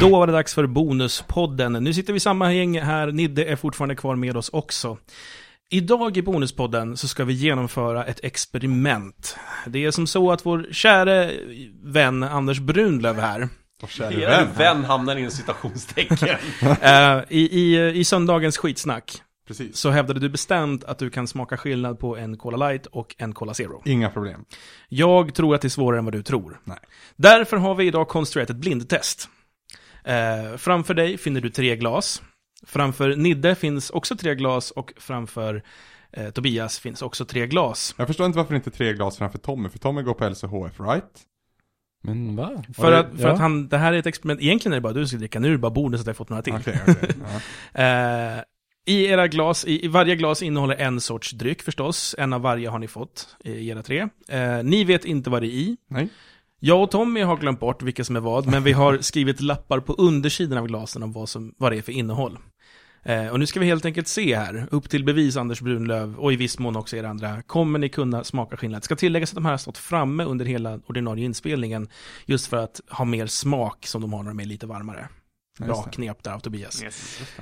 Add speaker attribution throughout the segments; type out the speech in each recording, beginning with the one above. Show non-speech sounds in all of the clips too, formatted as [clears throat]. Speaker 1: Då var det dags för Bonuspodden. Nu sitter vi i samma gäng här, Nidde är fortfarande kvar med oss också. Idag i Bonuspodden så ska vi genomföra ett experiment. Det är som så att vår käre vän Anders Brunlöv här,
Speaker 2: Vän, vän hamnar inom [laughs] citationstecken.
Speaker 1: eh, i, i, i söndagens skitsnack,
Speaker 3: Precis.
Speaker 1: så hävdade du bestämt att du kan smaka skillnad på en Cola Light och en Cola Zero.
Speaker 3: Inga problem.
Speaker 1: Jag tror att det är svårare än vad du tror.
Speaker 3: Nej.
Speaker 1: Därför har vi idag konstruerat ett blindtest. Eh, framför dig finner du tre glas. Framför Nidde finns också tre glas och framför eh, Tobias finns också tre glas.
Speaker 3: Jag förstår inte varför inte tre glas framför Tommy, för Tommy går på LCHF, right?
Speaker 4: Men va?
Speaker 1: För,
Speaker 4: Ja,
Speaker 1: att, för
Speaker 4: ja.
Speaker 1: att han, det här är ett experiment, egentligen är det bara du som ska dricka, nu är det bara bordet så att jag har fått några till.
Speaker 3: Okej, okej. ja.
Speaker 1: Eh, I era glas, i, i varje glas innehåller en sorts dryck förstås, en av varje har ni fått eh, i era tre. Eh, ni vet inte vad det är i.
Speaker 3: Nej.
Speaker 1: Jag och Tommy har glömt bort vilka som är vad, men vi har skrivit lappar på undersidan av glasen om vad, som, vad det är för innehåll. Eh, och nu ska vi helt enkelt se här, upp till bevis Anders Brunlöv och i viss mån också er andra, kommer ni kunna smaka skillnad? Ska tilläggas att de här har stått framme under hela ordinarie inspelningen, just för att ha mer smak som de har när de är lite varmare. Bra
Speaker 3: Just det.
Speaker 1: knep där av Tobias.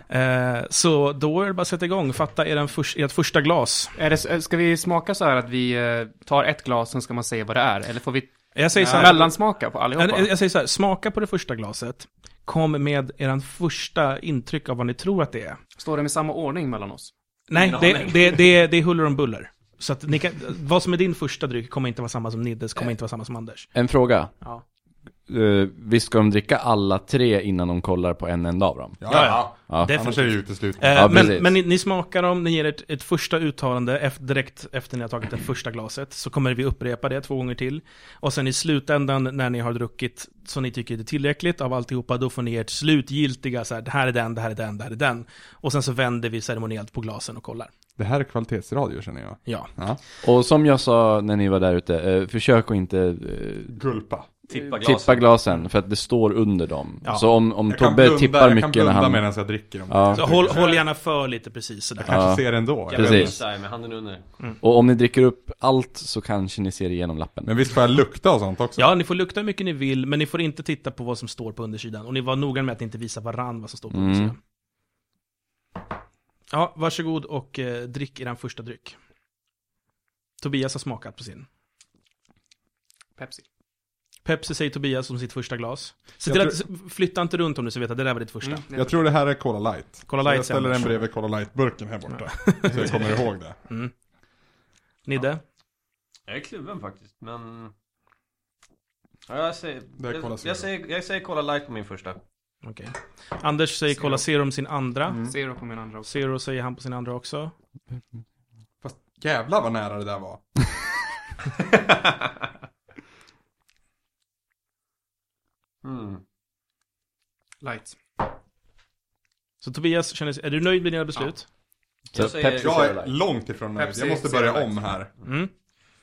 Speaker 1: Eh, så då är det bara att sätta igång, fatta er förs- ert första glas.
Speaker 5: Är det, eh, ska vi smaka så här att vi eh, tar ett glas, sen ska man säga vad det är? Eller får vi
Speaker 1: Jag säger så här,
Speaker 5: mellansmaka på allihopa?
Speaker 1: Jag, jag säger så här, smaka på det första glaset. Kom med eran första intryck av vad ni tror att det är.
Speaker 5: Står det med samma ordning mellan oss?
Speaker 1: Nej,
Speaker 2: Ingen
Speaker 1: det,
Speaker 2: aning.
Speaker 1: det, det, det är huller om buller. Så att ni kan, vad som är din första dryck kommer inte vara samma som Niddes, kommer inte vara samma som Anders.
Speaker 4: En fråga.
Speaker 1: Ja.
Speaker 4: Uh, visst ska de dricka alla tre innan de kollar på en enda av dem?
Speaker 3: Ja, ja.
Speaker 4: Ja.
Speaker 3: Annars är det ju uteslutet.
Speaker 1: Eh,
Speaker 4: Ja,
Speaker 1: men
Speaker 4: precis.
Speaker 1: men ni, ni smakar dem, ni ger ett, ett första uttalande efter, direkt efter ni har tagit det första glaset. Så kommer vi upprepa det två gånger till. Och sen i slutändan när ni har druckit så ni tycker det är tillräckligt av alltihopa, då får ni ert slutgiltiga så här, det här är den, det här är den, det här är den. Och sen så vänder vi ceremoniellt på glasen och kollar.
Speaker 3: Det här är kvalitetsradio känner jag.
Speaker 1: Ja.
Speaker 3: Ja.
Speaker 4: Och som jag sa när ni var där ute, eh, försök att inte eh,
Speaker 3: Gulpa.
Speaker 2: Tippa glasen.
Speaker 4: tippa glasen för att det står under dem.
Speaker 1: Ja.
Speaker 4: Så om, om
Speaker 3: Jag kan
Speaker 4: Tobbe
Speaker 3: blunda,
Speaker 4: tippar
Speaker 3: jag
Speaker 4: mycket
Speaker 3: kan
Speaker 4: när
Speaker 3: blunda
Speaker 4: han...
Speaker 3: medan jag dricker. Om
Speaker 4: Ja.
Speaker 1: Så håll, håll gärna för lite precis sådär.
Speaker 3: Jag kanske
Speaker 4: Ja.
Speaker 3: ser ändå. jag vet
Speaker 2: Jag
Speaker 4: Precis.
Speaker 3: inte.
Speaker 2: missar med handen under.
Speaker 4: Och om ni dricker upp allt så kanske ni ser igenom lappen.
Speaker 3: Men visst får jag lukta och sånt också?
Speaker 1: Ja, ni får lukta hur mycket ni vill, men ni får inte titta på vad som står på undersidan. Och ni var noga med att inte visa varann vad som står på
Speaker 4: Mm.
Speaker 1: undersidan. Ja, varsågod och eh, drick er första dryck. Tobias har smakat på sin.
Speaker 5: Pepsi.
Speaker 1: Pepsi säger Tobias om sitt första glas. Se
Speaker 3: Jag
Speaker 1: till att, flytta inte runt om du så vet att det där var ditt
Speaker 5: Mm.
Speaker 1: första.
Speaker 3: Jag tror det här är Cola Light.
Speaker 1: Cola
Speaker 3: Så
Speaker 1: Light
Speaker 3: jag ställer
Speaker 1: sen.
Speaker 3: den bredvid Cola Light-burken här borta. Så jag kommer ihåg det.
Speaker 1: Nidde?
Speaker 2: Jag är kluven faktiskt, men... Ja, jag, säger,
Speaker 3: Det är Cola
Speaker 2: jag,
Speaker 3: Zero.
Speaker 2: jag, säger, jag säger Cola Light på min första.
Speaker 1: Okej. Anders säger
Speaker 5: Zero. Mm.
Speaker 1: Cola Zero om sin andra.
Speaker 5: Zero på min andra också.
Speaker 1: Zero säger han på sin andra också.
Speaker 3: Fast jävlar vad nära det där var.
Speaker 2: Mm.
Speaker 5: Light.
Speaker 1: Så Tobias, känner, sig- är du nöjd med dina beslut?
Speaker 4: Så
Speaker 2: Jag säger-
Speaker 4: Pepsi
Speaker 3: Jag
Speaker 4: Zero
Speaker 3: är
Speaker 4: Light.
Speaker 3: långt ifrån nöjd.
Speaker 5: Pepsi
Speaker 3: Jag måste
Speaker 5: Zero
Speaker 3: börja
Speaker 5: Light.
Speaker 3: om här.
Speaker 1: Mm.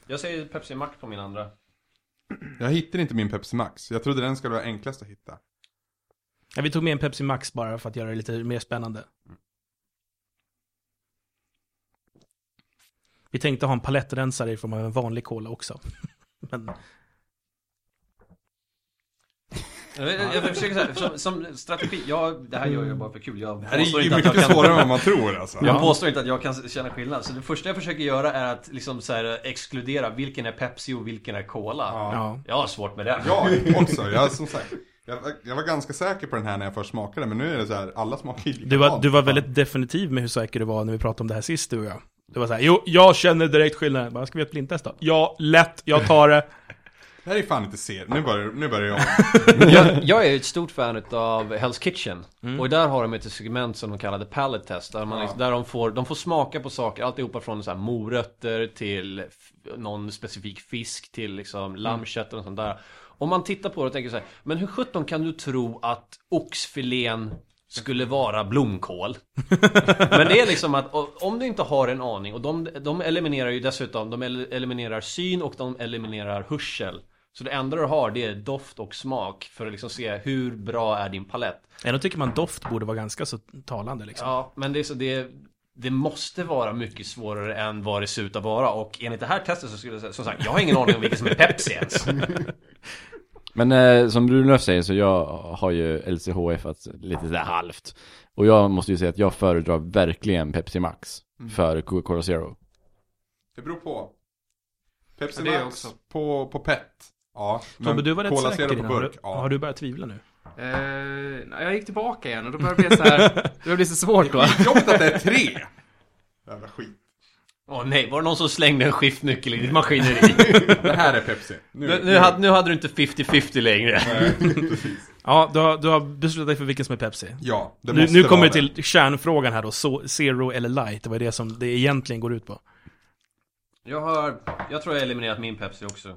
Speaker 2: Jag säger Pepsi Max på min andra.
Speaker 3: Jag hittar inte min Pepsi Max. Jag trodde den skulle vara enklast att hitta.
Speaker 1: Ja, vi tog med en Pepsi Max bara för att göra det lite mer spännande. Vi tänkte ha en palettrensare i form av en vanlig cola också. [laughs] Men
Speaker 2: Jag, jag, jag försöker så här, som, som strategi, jag, det här gör jag bara för kul. Jag
Speaker 3: Det här är
Speaker 2: påstår
Speaker 3: ju
Speaker 2: inte att jag
Speaker 3: mycket
Speaker 2: kan...
Speaker 3: svårare än vad man tror alltså.
Speaker 2: Jag påstår inte att jag kan känna skillnad, så det första jag försöker göra är att liksom så här, exkludera vilken är Pepsi och vilken är Cola.
Speaker 1: ja.
Speaker 2: Jag har svårt med det.
Speaker 3: Jag också, jag som sagt. Jag, jag var ganska säker på den här när jag först smakade, men nu är det så här, alla smakar ju likadant.
Speaker 1: Du, var, du var väldigt definitiv med hur säker du var när vi pratade om det här sist du och jag. Det var så här, jo, jag känner direkt skillnaden. Bara, ska vi göra ett blindtest då? Ja, lätt, jag tar det. [laughs]
Speaker 3: Det här är fan inte ser. Nu börjar, nu börjar jag om.
Speaker 2: jag, jag är ju ett stort fan av Hell's Kitchen Och där har de ett segment som de kallar The Palette Test Där, man, liksom- där de, får, de får smaka på saker, alltihopa från så här morötter till f- någon specifik fisk till liksom lammkött och sånt där Om man tittar på det och tänker så här, men hur sjutton kan du tro att oxfilén skulle vara blomkål? Men det är liksom att o- om du inte har en aning och de, de eliminerar ju dessutom, de el- eliminerar syn och de eliminerar hörsel. Så det enda du har det är doft och smak för att liksom se hur bra är din palett.
Speaker 1: Ändå tycker man doft borde vara ganska så talande liksom.
Speaker 2: Ja, men det är så det det måste vara mycket svårare än vad det ser ut att Mm. vara och enligt det här testet så skulle jag säga, som sagt, jag har ingen aning om vilken som är Pepsi ens.
Speaker 4: Men eh, som Brunlöf säger så jag har ju LCHF att lite sådär halvt. Och jag måste ju säga att jag föredrar verkligen Pepsi Max
Speaker 3: Mm.
Speaker 4: för Coca-Cola Zero.
Speaker 3: Det beror på. Pepsi
Speaker 5: Ja, det är
Speaker 3: Max
Speaker 5: också.
Speaker 3: på, på PET. Ja,
Speaker 1: Tobbe, du var rätt
Speaker 3: Cola
Speaker 1: säker
Speaker 3: Zero
Speaker 1: innan.
Speaker 3: på burk.
Speaker 1: Har,
Speaker 3: Ja.
Speaker 1: du- har du börjat tvivla nu? Mm.
Speaker 5: Eh, nej, jag gick tillbaka igen och då började det bli
Speaker 1: [laughs]
Speaker 5: så här, det började bli så svårt då.
Speaker 3: Jobbigt att det är tre! Jävla skit.
Speaker 2: Åh nej, var det någon som slängde en skiftnyckel i ditt [laughs] maskineri?
Speaker 3: Det här är Pepsi.
Speaker 2: nu, nu, hade, nu hade du inte 50-50 längre.
Speaker 3: [laughs]
Speaker 1: Ja, du har, du har beslutat dig för vilken som är Pepsi.
Speaker 3: Ja, det
Speaker 1: Nu,
Speaker 3: måste
Speaker 1: nu kommer
Speaker 3: vara
Speaker 1: det till kärnfrågan här då, så, Zero eller Light, det var det som det egentligen går ut på.
Speaker 2: Jag har... Jag tror jag har eliminerat min Pepsi också.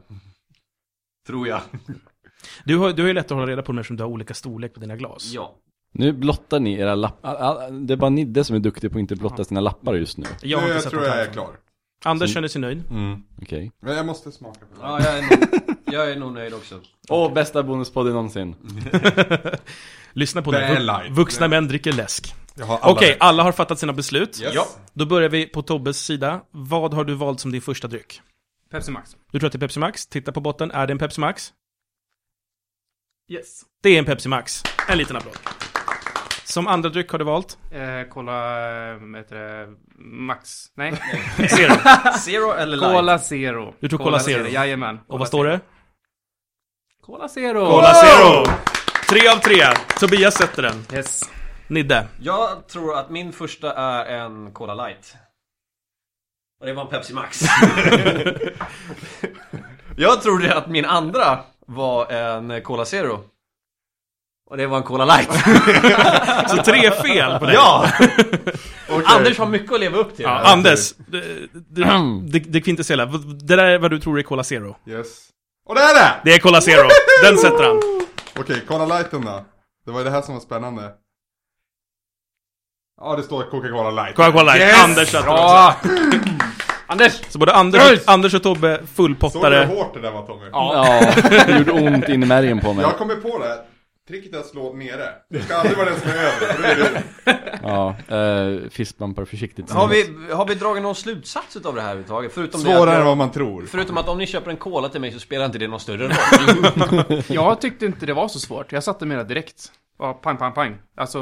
Speaker 2: Tror jag.
Speaker 1: Du har, du har ju lätt att hålla reda på dem eftersom du har olika storlek på dina glas.
Speaker 2: Ja.
Speaker 4: Nu blottar ni era lappar. Det är bara Nidde som är duktig på att inte blotta sina lappar just nu.
Speaker 1: Jag har
Speaker 3: nu,
Speaker 1: inte
Speaker 3: jag
Speaker 1: sett
Speaker 3: tror
Speaker 1: dem
Speaker 3: jag är Mm.
Speaker 1: framför.
Speaker 3: klar.
Speaker 1: Anders känner sig nöjd.
Speaker 4: Okej.
Speaker 3: Men jag måste smaka på det.
Speaker 2: Ja, jag är nog, jag är nog nöjd också.
Speaker 4: Åh, bästa bonuspodden någonsin.
Speaker 1: Lyssna på
Speaker 3: Det
Speaker 1: den.
Speaker 3: är
Speaker 1: Vux-
Speaker 3: light.
Speaker 1: Vuxna män dricker läsk.
Speaker 3: Jag har alla
Speaker 1: Okej,
Speaker 3: rätt.
Speaker 1: alla har fattat sina beslut.
Speaker 3: Yes.
Speaker 2: Ja.
Speaker 1: Då börjar vi på Tobbes sida. Vad har du valt som din första dryck?
Speaker 5: Pepsi Max.
Speaker 1: Du tror att det är Pepsi Max? Titta på botten. Är det en Pepsi Max?
Speaker 5: Yes.
Speaker 1: Det är en Pepsi Max. En liten applåd. Som andra dryck har du valt?
Speaker 5: Eh, kolla, eh, vad heter det, Max?
Speaker 1: [laughs]
Speaker 5: Nej,
Speaker 3: [laughs]
Speaker 1: Zero.
Speaker 2: [laughs] Zero eller light?
Speaker 5: Cola Zero.
Speaker 1: Du tror Cola Zero?
Speaker 5: Jajamän.
Speaker 1: Och vad står det?
Speaker 5: Cola Zero.
Speaker 1: Cola Zero! Tre av tre. Tobias sätter den.
Speaker 5: Yes.
Speaker 1: Nidde.
Speaker 2: Jag tror att min första är en Cola light. Och det var en Pepsi Max. [laughs] jag trodde att min andra var en Cola Zero. Och det var en Cola light.
Speaker 1: Så tre fel på dig.
Speaker 2: ja! [laughs] Anders har mycket att leva upp till.
Speaker 1: Ja, Anders, det, det, det, det kvintessentiella. Det där är vad du tror är Cola Zero.
Speaker 3: Yes. Och det är det!
Speaker 1: Det är Cola Zero. Den sätter han.
Speaker 3: Okej, kolla lighten då. Det var ju det här som var spännande. Ja, det står Coca-Cola light.
Speaker 1: Coca-Cola Light.
Speaker 5: Yes!
Speaker 1: Anders sätter den också.
Speaker 5: Bra! Anders!
Speaker 1: Så både Anders,
Speaker 5: Yes!
Speaker 1: Anders och Tobbe
Speaker 3: Såg du
Speaker 1: fullpottare.
Speaker 3: hur hårt det där var Tommy?
Speaker 4: [laughs] Ja, det gjorde ont in i märgen på mig.
Speaker 3: Jag kommer på det. här. Tricket är att slå nere. Det ska aldrig vara den som är över. för då är det-
Speaker 4: Ja, eh, fistbumpar försiktigt.
Speaker 2: Har vi, har vi dragit någon slutsats utav det här överhuvudtaget? Förutom, det att,
Speaker 3: Svårare än
Speaker 2: jag-
Speaker 3: vad man tror.
Speaker 2: förutom att om ni köper en Cola till mig så spelar inte det någon större roll.
Speaker 5: Jag tyckte inte det var så svårt. Jag satte mera direkt. Ja, pang, pang, pang. Alltså,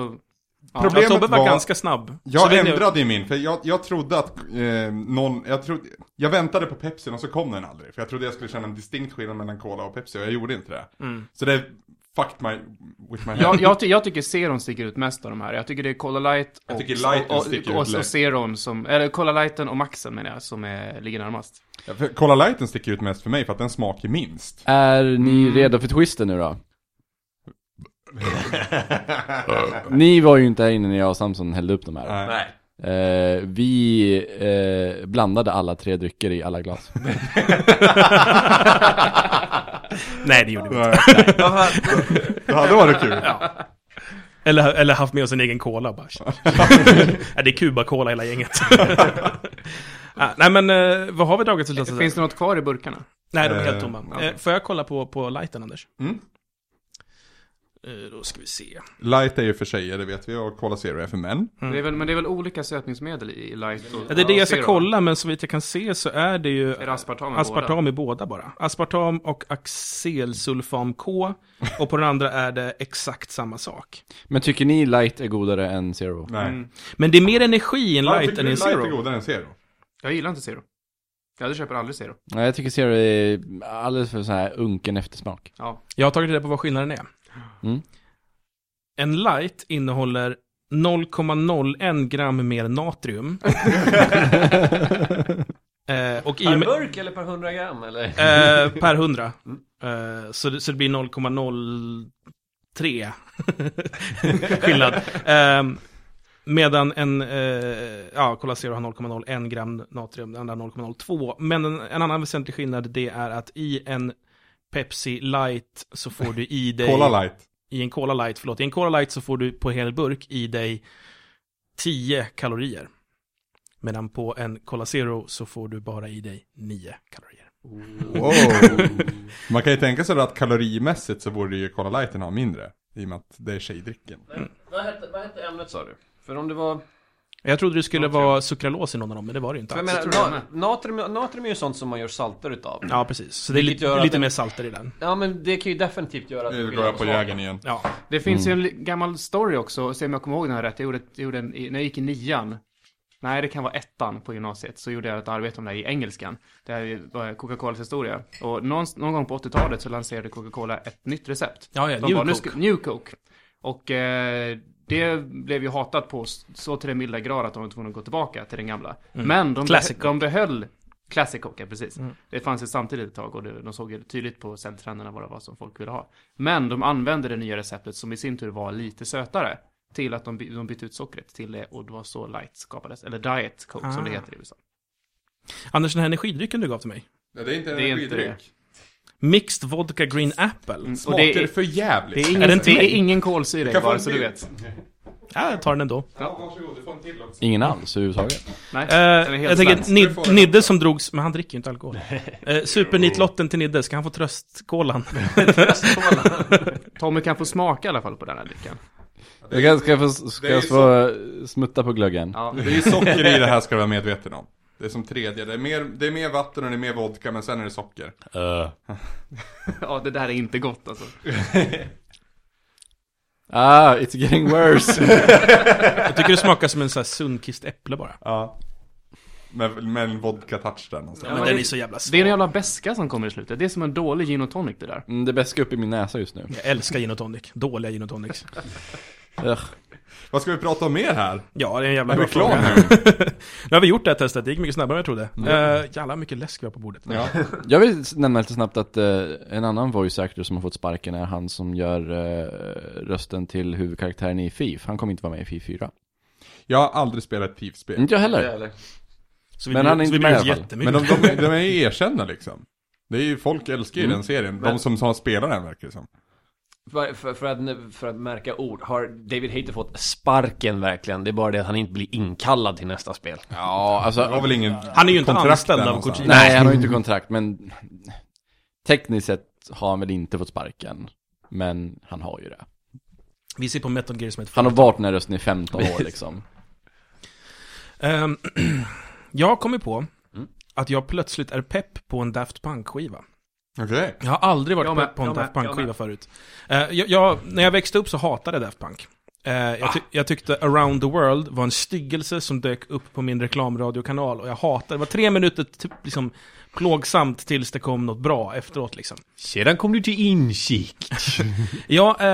Speaker 1: Ja, Tobbe
Speaker 3: Problemet
Speaker 1: var,
Speaker 3: var-
Speaker 1: ganska snabb. Så
Speaker 3: Jag
Speaker 1: vet ni-
Speaker 3: ändrade ju min, för jag, jag trodde att eh, någon, jag trodde, jag väntade på Pepsi och så kom den aldrig. För jag trodde jag skulle känna en distinkt skillnad mellan Cola och Pepsi och jag gjorde inte det. Så det fucked my, with my head.
Speaker 5: jag, jag, ty- jag tycker Zeron sticker ut mest av de här. Jag tycker det är Cola Light och,
Speaker 3: Jag tycker Lighten
Speaker 5: och,
Speaker 3: sticker
Speaker 5: och,
Speaker 3: ut
Speaker 5: och, och
Speaker 3: längst.
Speaker 5: Zeron som, eller Cola Lighten och Maxen menar jag, som är, ligger närmast.
Speaker 3: Ja, för Cola lighten sticker ut mest för mig för att den smakar minst.
Speaker 4: Är ni redo för twisten nu då? ni var ju inte här inne när jag och Samson hällde upp de här.
Speaker 3: Nej.
Speaker 2: [laughs] Nej.
Speaker 4: Eh, vi eh, blandade alla tre drycker i alla glas.
Speaker 1: Nej, det gjorde vi inte.
Speaker 3: Det hade varit kul.
Speaker 1: Eller, eller haft med oss en egen cola bara. [laughs] Nej, det är Cuba-cola hela
Speaker 3: [laughs]
Speaker 1: gänget. Ah, Nej, men eh, vad har vi dragit slutsatser?
Speaker 5: Finns det något kvar i burkarna?
Speaker 1: Nej, de är
Speaker 3: Eh,
Speaker 1: helt tomma.
Speaker 3: ja.
Speaker 1: Eh, Får jag kolla på, på lighten, Anders?
Speaker 3: Mm.
Speaker 1: Eh, Då ska vi se.
Speaker 3: Light är ju för tjejer, det vet vi, och Cola Zero är för män.
Speaker 5: Det är väl, men det är väl olika sötningsmedel i Light och
Speaker 1: Mm. Ja, det är det jag ska
Speaker 5: Zero.
Speaker 1: kolla, men så vitt jag kan se så är det ju
Speaker 5: Är det aspartam i båda?
Speaker 1: aspartam i båda bara. Aspartam och axelsulfam-K. Och på den andra är det exakt samma sak.
Speaker 4: Men tycker ni light är godare än zero?
Speaker 3: Nej.
Speaker 1: Men det är mer energi i en
Speaker 3: Ja,
Speaker 1: light
Speaker 3: tycker
Speaker 1: än i
Speaker 3: du
Speaker 1: en
Speaker 3: light Mm. är
Speaker 1: zero.
Speaker 3: godare än Zero?
Speaker 5: Jag gillar inte Zero. Jag köper aldrig Zero.
Speaker 4: Nej, jag tycker zero är alldeles för så här unken eftersmak.
Speaker 5: Ja.
Speaker 1: Jag har tagit reda på vad skillnaden är.
Speaker 4: Mm.
Speaker 1: En light innehåller 0,01 gram mer natrium. eh, och i
Speaker 2: Per
Speaker 1: och med-
Speaker 2: burk eller per 100 gram eller?
Speaker 1: Eh, per 100. Eh, så, det, så det blir 0,03 [laughs] skillnad. Eh, medan en, eh, ja, Cola Zero har 0,01 gram natrium, den andra 0,02. Men en, en annan väsentlig skillnad det är att i en Pepsi Light så får du i dig...
Speaker 3: Cola light.
Speaker 1: I en Cola Light, förlåt. I en Cola Light så får du på hel burk i dig 10 kalorier. Medan på en Cola Zero så får du bara i dig 9 kalorier.
Speaker 3: Wow. Man kan ju tänka sig då att kalorimässigt så borde ju Cola lighten ha mindre. I och med att det är tjejdrycken.
Speaker 2: Vad hette, vad hette ämnet sa du? För om det var...
Speaker 1: Jag trodde det skulle
Speaker 5: Natrium.
Speaker 1: vara sukralos i någon av dem, men det var det ju inte
Speaker 2: För jag
Speaker 1: alls.
Speaker 2: menar,
Speaker 5: tror jag
Speaker 2: na- natrium, natrium är ju sånt som man gör salter utav.
Speaker 1: Ja, precis. Så det är
Speaker 2: Vilket
Speaker 1: lite,
Speaker 2: gör att
Speaker 1: lite
Speaker 2: den-
Speaker 1: mer salter i den.
Speaker 2: Ja men det kan ju definitivt göra att det
Speaker 3: Nu
Speaker 2: blir
Speaker 3: går jag Alltså, på
Speaker 2: smakar.
Speaker 3: jägern igen.
Speaker 1: Ja,
Speaker 5: Det finns ju en li- gammal story också, se om jag kommer ihåg den här rätt. Jag gjorde, ett- jag gjorde en, i- när jag gick i nian, nej det kan vara ettan på gymnasiet, så gjorde jag ett arbete om det här i engelskan. Det här var Coca-Colas historia. Och någon, någon gång på 80-talet så lanserade Coca-Cola ett nytt recept.
Speaker 1: ja, ja
Speaker 5: De bara,
Speaker 1: New
Speaker 5: nu
Speaker 1: Coke.
Speaker 5: ska- New Coke. Och eh, det blev ju hatat på s- så till den milda grad att de var tvungna att gå tillbaka till den gamla. Men de,
Speaker 1: Mm. Classic Mm.
Speaker 5: behö- de behöll Classic Coke, ja, precis. Det fanns ju samtidigt ett tag och det, de såg ju tydligt på säljtrenderna vad det var som folk ville ha. Men de använde det nya receptet som i sin tur var lite sötare till att de, by- de bytte ut sockret till det och det var så light skapades, eller diet coke som det
Speaker 1: Ah.
Speaker 5: heter i USA.
Speaker 1: Anders, den här energidrycken du gav till mig.
Speaker 3: Nej, det är inte en
Speaker 5: Det är inte
Speaker 3: energidryck.
Speaker 1: Mixed Vodka Green Apple.
Speaker 5: Och
Speaker 3: Smakar
Speaker 5: det
Speaker 3: det
Speaker 5: är,
Speaker 3: för
Speaker 5: det
Speaker 3: jävligt.
Speaker 5: är ingen,
Speaker 1: Är det
Speaker 5: det
Speaker 1: inte mig?
Speaker 5: är ingen kolsyra i
Speaker 3: kan få
Speaker 5: bara
Speaker 3: en
Speaker 5: så du
Speaker 3: bild.
Speaker 5: vet.
Speaker 1: Ja, jag tar den ändå.
Speaker 3: Ja, varsågod, du får en till också.
Speaker 4: [laughs] Ingen alls överhuvudtaget.
Speaker 5: Nej,
Speaker 1: Eh,
Speaker 5: den är
Speaker 1: jag
Speaker 5: helt
Speaker 1: tänker
Speaker 5: svensk.
Speaker 1: Nid-
Speaker 3: Du får den.
Speaker 1: Nidde som drogs, men han dricker ju inte alkohol. Eh, Supernitlotten till Nidde, ska han få tröstkolan?
Speaker 5: Tommy kan få smaka i alla fall på den
Speaker 1: [laughs]
Speaker 5: här drycken.
Speaker 4: Jag kan, ska jag få, ska
Speaker 3: Det är
Speaker 4: jag
Speaker 3: ju
Speaker 4: få smutta på glöggen?
Speaker 5: Ja.
Speaker 3: Det är ju socker i det här ska du vara medveten om. Det är som tredje, det är mer, det är mer vatten och det är mer vodka, men sen är det socker.
Speaker 4: Uh.
Speaker 5: Ja, det där är inte gott alltså.
Speaker 4: Ah, it's getting worse.
Speaker 3: [laughs]
Speaker 1: jag tycker det smakar som en sån här sunkist äpple bara.
Speaker 3: Ja. Med, med en vodka-touch där någonstans.
Speaker 1: Ja, men
Speaker 5: men
Speaker 1: den
Speaker 5: det-
Speaker 1: är så jävla
Speaker 5: Det är
Speaker 1: svag.
Speaker 5: en jävla beska som kommer i slutet. Det är som en dålig gin och tonic det där.
Speaker 4: Mm, det bäska upp i min näsa just nu.
Speaker 1: Jag älskar gin och tonic. Dåliga gin och tonics.
Speaker 4: Ugh.
Speaker 3: Vad ska vi prata om mer här?
Speaker 1: Ja, det är en jävla
Speaker 3: Är vi
Speaker 1: bra
Speaker 3: klara
Speaker 1: fråga.
Speaker 3: nu?
Speaker 1: [laughs] Nu har vi gjort det här testet, det gick mycket snabbare än jag trodde. Eh, jävla mycket läsk vi har på bordet.
Speaker 3: Ja.
Speaker 4: Jag vill nämna lite snabbt att eh, en annan voice actor som har fått sparken är han som gör eh, rösten till huvudkaraktären i FIF. Han kommer inte vara med i FIF 4.
Speaker 3: Jag har aldrig spelat ett Thief-spel.
Speaker 4: Inte jag heller.
Speaker 2: Eller?
Speaker 1: Så vi
Speaker 4: Men
Speaker 1: bryr-
Speaker 4: han är
Speaker 1: så
Speaker 4: inte
Speaker 1: vi
Speaker 4: med
Speaker 1: bryr
Speaker 4: i
Speaker 1: oss
Speaker 4: alla fall.
Speaker 1: jättemycket.
Speaker 3: Men de, de, de är ju erkända liksom. Det är ju, folk älskar ju
Speaker 4: Mm.
Speaker 3: den serien. De
Speaker 2: Men-
Speaker 3: som har spelat den verkar det som.
Speaker 2: För, för, för, att, för att märka ord, har David Hayter fått sparken verkligen? Det är bara det att han inte blir inkallad till nästa spel.
Speaker 4: Ja, alltså.
Speaker 3: Det var väl ingen
Speaker 1: Han är ju inte
Speaker 3: kontrakt
Speaker 1: anställd
Speaker 3: där
Speaker 1: av
Speaker 3: någonstans.
Speaker 1: Cortina.
Speaker 4: Nej, han har ju inte kontrakt, men tekniskt sett har han väl inte fått sparken. Men han har ju det.
Speaker 1: Vi ser på Metal Gear som ett
Speaker 4: Han har
Speaker 1: fan.
Speaker 4: varit den här rösten i 15 år liksom.
Speaker 1: Ehm, [clears throat] jag har kommit på
Speaker 4: Mm.
Speaker 1: att jag plötsligt är pepp på en Daft Punk-skiva.
Speaker 3: Okej.
Speaker 1: Jag har aldrig varit
Speaker 5: Jag med,
Speaker 1: pepp på en
Speaker 5: jag med,
Speaker 1: Daft Punk-skiva
Speaker 5: jag
Speaker 1: förut. Eh, jag, jag, när jag växte upp så hatade jag Daft Punk. Eh, jag, ty- jag tyckte Around the World var en styggelse som dök upp på min reklamradiokanal och jag hatade det. var tre minuter typ, liksom, plågsamt tills det kom något bra efteråt liksom.
Speaker 2: Sedan kom du till insikt.
Speaker 1: [laughs] Ja, eh,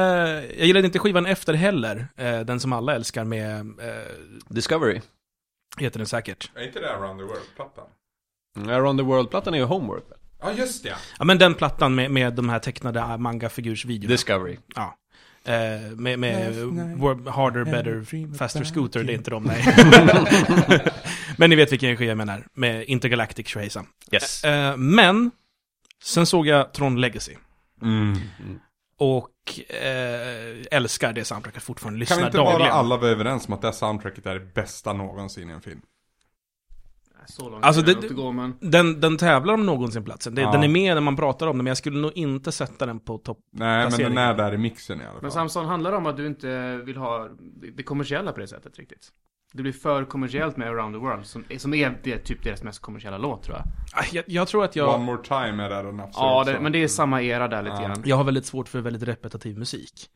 Speaker 1: jag gillade inte skivan efter heller, eh, den som alla älskar med, eh,
Speaker 2: Discovery.
Speaker 1: heter den säkert.
Speaker 3: Är inte det Around the World-plattan?
Speaker 2: Around the World-plattan är ju Homework.
Speaker 3: Ja, just det.
Speaker 1: Ja men den plattan med, med de här tecknade mangafigursvideorna.
Speaker 2: Discovery.
Speaker 1: Ja. Eh, med med
Speaker 3: Last night
Speaker 1: wor- Harder,
Speaker 3: I
Speaker 1: Better,
Speaker 3: dreamed
Speaker 1: Faster
Speaker 3: about
Speaker 1: Scooter, det är
Speaker 3: you.
Speaker 1: inte de,
Speaker 3: [laughs]
Speaker 1: nej. men ni vet vilken energi jag menar, med Intergalactic Shreizan.
Speaker 2: Yes.
Speaker 1: Eh, men, sen såg jag Tron Legacy.
Speaker 3: Mm.
Speaker 1: Och eh, älskar det soundtracket fortfarande,
Speaker 3: Kan vi
Speaker 1: lyssnar
Speaker 3: inte
Speaker 1: dagligen.
Speaker 3: bara alla vara överens om att det här soundtracket är det bästa någonsin i en film?
Speaker 5: Så långt
Speaker 1: Alltså,
Speaker 5: alltså,
Speaker 1: det-
Speaker 5: det, gå, men...
Speaker 1: Den, den tävlar om någonsin platsen. Det,
Speaker 3: Ja.
Speaker 1: Den är med när man pratar om den, men jag skulle nog inte sätta den på topp.
Speaker 3: Nej, men den
Speaker 1: Placeringen.
Speaker 3: är där i mixen i alla fall.
Speaker 5: men Samson, handlar det om att du inte vill ha det det kommersiella på det sättet riktigt? Det blir för kommersiellt med Around the World, som, som är det, typ deras mest kommersiella låt tror jag.
Speaker 1: Ah, Jag, jag tror att
Speaker 3: One
Speaker 1: jag,
Speaker 3: more time är där den absolut
Speaker 5: Ja, det,
Speaker 3: som-
Speaker 5: men det är samma era där lite
Speaker 3: Ja.
Speaker 5: grann.
Speaker 1: jag har väldigt svårt för väldigt repetitiv musik.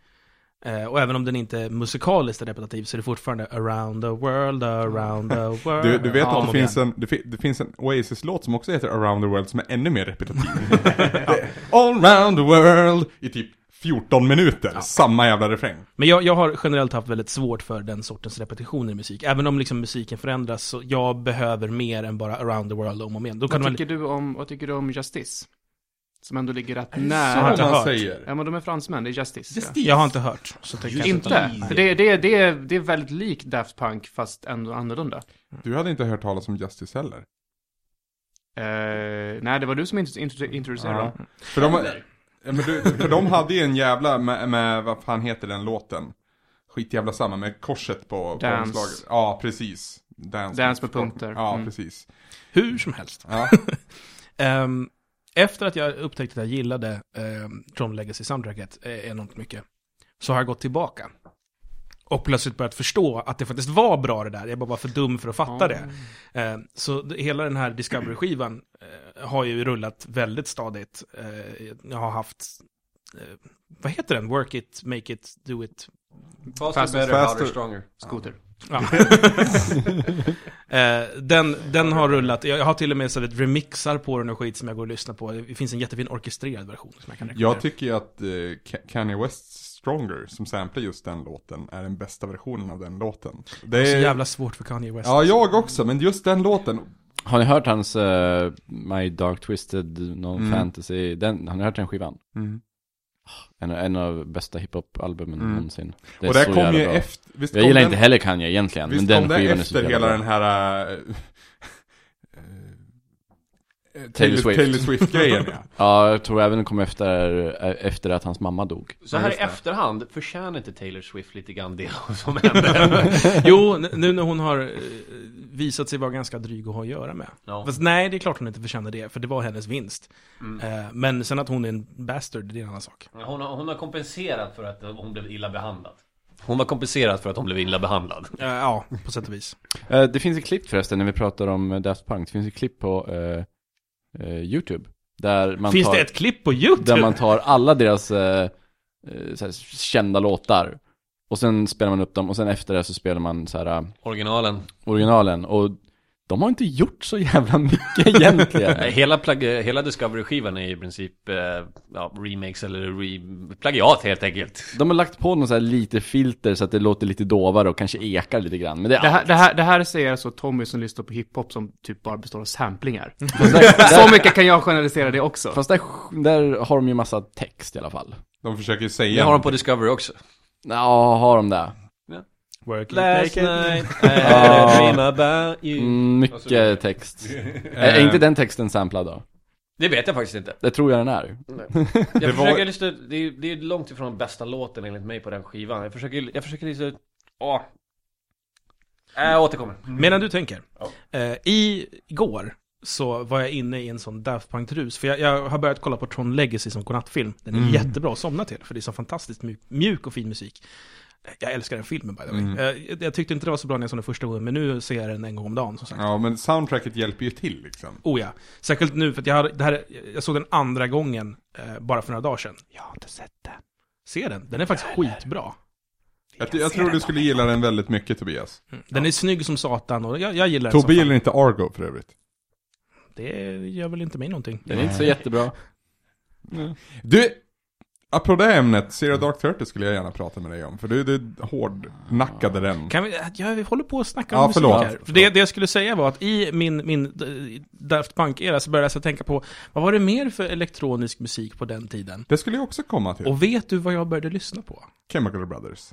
Speaker 1: Eh, och även om den inte är musikaliskt repetitiv så är det fortfarande around the world, around the world.
Speaker 3: [laughs] Du, du vet
Speaker 1: Om
Speaker 3: att
Speaker 1: och
Speaker 3: det
Speaker 1: igen.
Speaker 3: finns, en, det, fi- det finns en Oasis-låt som också heter Around the World som är ännu mer
Speaker 1: [laughs]
Speaker 3: repetitiv. Det är All round the world i typ 14 minuter, samma jävla refräng.
Speaker 1: Men jag, jag har generellt haft väldigt svårt för den sortens repetitioner i musik. Även om liksom musiken förändras så jag behöver mer än bara around the world om och om igen. Då kan
Speaker 5: Vad
Speaker 1: man...
Speaker 5: tycker, du om, vad tycker du om Justice? Som ändå ligger rätt
Speaker 1: Jag har
Speaker 5: nära.
Speaker 1: inte hört.
Speaker 3: säger.
Speaker 5: Ja, men de är fransmän, det är Justice. ja.
Speaker 1: Jag har inte hört. Så tänker jag
Speaker 5: Inte? För Det, det, det, är- det är väldigt likt Daft Punk, fast ändå annorlunda.
Speaker 3: Du hade inte hört talas om Justice heller.
Speaker 5: Eh, nej, det var du som intro- intro- introducerade
Speaker 3: Ja.
Speaker 5: dem.
Speaker 3: För, de, ja, men du, för de hade ju en jävla, med, med vad fan heter den låten? Skitjävla samma, med korset på, på
Speaker 5: Dance.
Speaker 3: omslaget. Ja, precis. Dance,
Speaker 5: Dance med punkter.
Speaker 3: Ja,
Speaker 5: Mm.
Speaker 3: precis.
Speaker 1: Hur som helst.
Speaker 3: Ja.
Speaker 1: Ehm, efter att jag upptäckte att jag ehm, gillade um, Tron Legacy soundtracket eh, enormt mycket, så har jag gått tillbaka Och plötsligt börjat förstå att det faktiskt var bra det där, jag bara var för dum för att fatta
Speaker 5: Ja.
Speaker 1: det. Eh, Så d- hela den här Discovery-skivan eh, har ju rullat väldigt stadigt. Eh, Jag har haft, eh, vad heter den? Work it, make it, do it,
Speaker 2: Faster,
Speaker 5: Faster,
Speaker 2: better,
Speaker 3: faster.
Speaker 2: harder, stronger.
Speaker 5: Skoter.
Speaker 1: Ja. [laughs] Eh, den, den har rullat, jag jag har till och med så här remixar på den och skit som jag går och lyssnar på. Det finns en jättefin orkestrerad version som jag kan rekommendera.
Speaker 3: Jag tycker ju att eh, Ka- Kanye Wests Stronger, som samplar just den låten, är den bästa versionen av den låten. Det
Speaker 1: Så
Speaker 3: är...
Speaker 1: jävla svårt för Kanye West. alltså.
Speaker 3: Ja, jag också, men just den låten.
Speaker 4: Har ni hört hans eh, My Dark Twisted No
Speaker 3: Mm.
Speaker 4: Fantasy? Den, har ni hört den skivan? En, en av bästa hiphop-albumen
Speaker 3: Mm.
Speaker 4: någonsin. Det är
Speaker 3: Och det
Speaker 4: så
Speaker 3: här kom
Speaker 4: jävla
Speaker 3: ju
Speaker 4: bra.
Speaker 3: efter... Visst
Speaker 4: Jag
Speaker 3: kom
Speaker 4: gillar
Speaker 3: den-
Speaker 4: inte heller Kanye egentligen, men
Speaker 3: Visst
Speaker 4: den
Speaker 3: kom
Speaker 4: skivan
Speaker 3: det
Speaker 4: är så
Speaker 3: efter hela
Speaker 4: jävla bra.
Speaker 3: den här... eh, [laughs] eh,
Speaker 4: Taylor Swift.
Speaker 3: Taylor Swift-grejen, ja.
Speaker 4: Ja, jag tror även den kom efter, eh, efter att hans mamma dog.
Speaker 2: Så här i efterhand, förtjänar inte Taylor Swift lite grann det [laughs] som
Speaker 1: [laughs]
Speaker 2: hände?
Speaker 1: [laughs] Jo, n- nu när hon har eh, visat sig vara ganska dryg att ha att göra med.
Speaker 2: Ja.
Speaker 1: Fast nej, det är klart hon inte förtjänar det, för det var hennes vinst.
Speaker 2: Mm.
Speaker 1: Eh, Men sen att hon är en bastard, det är en annan sak.
Speaker 2: Hon har, hon har kompenserat för att hon blev illa behandlad. Hon har kompenserat för att hon blev illa behandlad.
Speaker 1: Eh, Ja, på sätt och vis.
Speaker 4: Eh, Det finns ett klipp förresten när vi pratar om eh, Daft Punk. Det finns ett klipp på eh, eh, YouTube. Där man
Speaker 1: Finns
Speaker 4: tar,
Speaker 1: det ett klipp på YouTube?
Speaker 4: Där man tar alla deras eh, eh, så här, kända låtar. Och sen spelar man upp dem och sen efter det så spelar man så här eh,
Speaker 2: Originalen.
Speaker 4: originalen. Och de har inte gjort så jävla mycket egentligen. [laughs]
Speaker 2: Nej, hela, plag- hela Discovery-skivan är i princip eh, ja, remakes eller re- plagiat helt enkelt.
Speaker 4: De har lagt på någon så här lite filter så att det låter lite dovare och kanske ekar lite grann. Men det är
Speaker 5: Det här, det, här, det här säger alltså Tommy som lyssnar på hiphop som typ bara består av samplingar.
Speaker 1: Mm.
Speaker 4: Fast alltså, där,
Speaker 5: Så mycket kan jag generalisera det också.
Speaker 4: fast där, där har de ju massa text i alla fall.
Speaker 3: De försöker ju
Speaker 2: Det
Speaker 3: säga...
Speaker 2: har de på Discovery också.
Speaker 4: Ja, har de det?
Speaker 1: Work it,
Speaker 2: Last
Speaker 1: make it.
Speaker 2: night [laughs]
Speaker 4: Ja.
Speaker 2: I dream about you.
Speaker 4: Mm,
Speaker 2: så vidare.
Speaker 4: mycket text.
Speaker 3: eh,
Speaker 4: Är, är inte den texten samplad då?
Speaker 2: Det vet jag faktiskt inte.
Speaker 4: Det tror jag den är.
Speaker 2: Jag
Speaker 3: Det var-
Speaker 2: försöker lyssna, det är, det är långt ifrån den bästa låten enligt mig på den skivan. Jag försöker, jag försöker lyssna, åh. Äh, jag återkommer.
Speaker 1: Medan du tänker. Eh, I går så var jag inne i en sån Daft Punk-rus. För jag, jag har börjat kolla på Tron Legacy som godnattfilm. Den
Speaker 3: Mm.
Speaker 1: är jättebra att somna till, för det är så fantastiskt mjuk, mjuk och fin musik. Jag älskar den filmen by the way.
Speaker 3: Mm.
Speaker 1: Eh, jag, jag tyckte inte det var så bra när jag såg den första gången, men nu ser jag den en gång om dagen som sagt.
Speaker 3: Ja, men soundtracket hjälper ju till liksom.
Speaker 1: Oh ja, särskilt nu för att jag, hade, det här, jag såg den andra gången eh, bara för några dagar sedan. Jag har inte sett den. Se den, den är faktiskt skitbra.
Speaker 3: Jag, jag tror du skulle gilla den väldigt mycket, Tobias.
Speaker 1: Den är snygg som satan och jag, jag gillar den
Speaker 3: Tobbe
Speaker 1: som
Speaker 3: gillar
Speaker 1: fan.
Speaker 3: inte Argo för övrigt.
Speaker 1: Det gör väl inte mig någonting.
Speaker 4: Den är inte så jättebra.
Speaker 3: Du, apropå det ämnet, Zero Dark Thirty skulle jag gärna prata med dig om, för du, du hårdnackade den.
Speaker 1: Kan vi, ja, vi håller på att snacka
Speaker 3: Ja,
Speaker 1: om musik
Speaker 3: förlåt.
Speaker 1: här. För det, det jag skulle säga var att i min, min eh, Daft Punk-era så började jag så tänka på vad var det mer för elektronisk musik på den tiden?
Speaker 3: Det skulle jag också komma till.
Speaker 1: Och vet du vad jag började lyssna på?
Speaker 3: Chemical Brothers.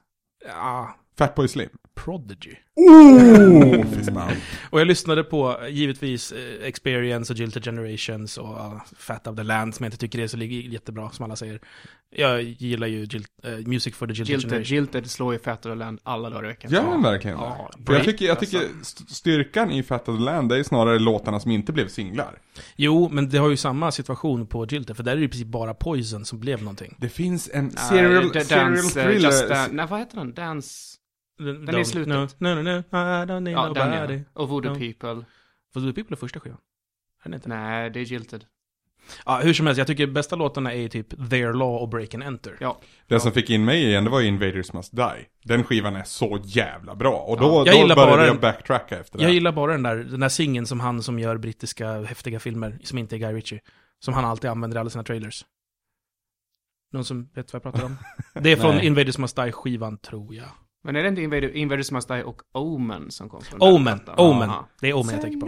Speaker 1: Ja,
Speaker 3: Fatboy Slim.
Speaker 1: Prodigy.
Speaker 3: Oh, fistbump.
Speaker 1: Och jag lyssnade på eh, givetvis eh, Experience och Jilted Generations och uh, Fat of the Land som jag inte tycker är så li- jättebra som alla säger. Jag gillar ju Jil- eh, Music for the Jilted,
Speaker 5: Jilted,
Speaker 1: Generation.
Speaker 5: Jilted slår ju Fat och Land alla dagar i veckan.
Speaker 3: Gör den verkligen det?
Speaker 5: Ja,
Speaker 3: För jag
Speaker 5: break,
Speaker 3: tycker, jag tycker st- styrkan i Fat of the Land, det är snarare låtarna som inte blev singlar.
Speaker 1: Jo, men det har ju samma situation på Jilted, för där är det ju precis bara Poison som blev någonting.
Speaker 3: Det finns en
Speaker 5: Nej,
Speaker 3: serial,
Speaker 5: da-
Speaker 3: serial
Speaker 5: dance, eh,
Speaker 3: thriller.
Speaker 5: Just Dan- Nej, vad heter den? Dance...
Speaker 1: Den
Speaker 5: är i slutet.
Speaker 1: No, no, no, no, I don't need
Speaker 5: Ja, den
Speaker 1: nobody.
Speaker 5: ja. Och Voodoo
Speaker 1: Ja.
Speaker 5: People.
Speaker 1: Vad du People är första skivan? Är den inte?
Speaker 5: Nej, det är Jilted.
Speaker 1: Ja, hur som helst, jag tycker bästa låtarna är ju typ Their Law och Break and Enter.
Speaker 5: Ja.
Speaker 3: Det som fick in mig igen, det var ju Invaders Must Die. Den skivan är så jävla bra. Och då,
Speaker 1: jag
Speaker 3: då
Speaker 1: gillar
Speaker 3: började
Speaker 1: bara
Speaker 3: jag
Speaker 1: den-
Speaker 3: backtracka efter det.
Speaker 1: Jag gillar bara den där, den där singeln som han som gör brittiska häftiga filmer, som inte är Guy Ritchie. Som han alltid använder i alla sina trailers. Någon som vet vad jag pratar
Speaker 5: [laughs]
Speaker 1: om? Det är från
Speaker 4: Nej.
Speaker 1: Invaders Must Die-skivan, tror jag.
Speaker 5: Men är det inte Invader, Invaders Must Die och Omen som kom från
Speaker 1: Omen,
Speaker 5: den plattan?
Speaker 1: Omen.
Speaker 5: Ja.
Speaker 1: Det är Omen jag tänker på.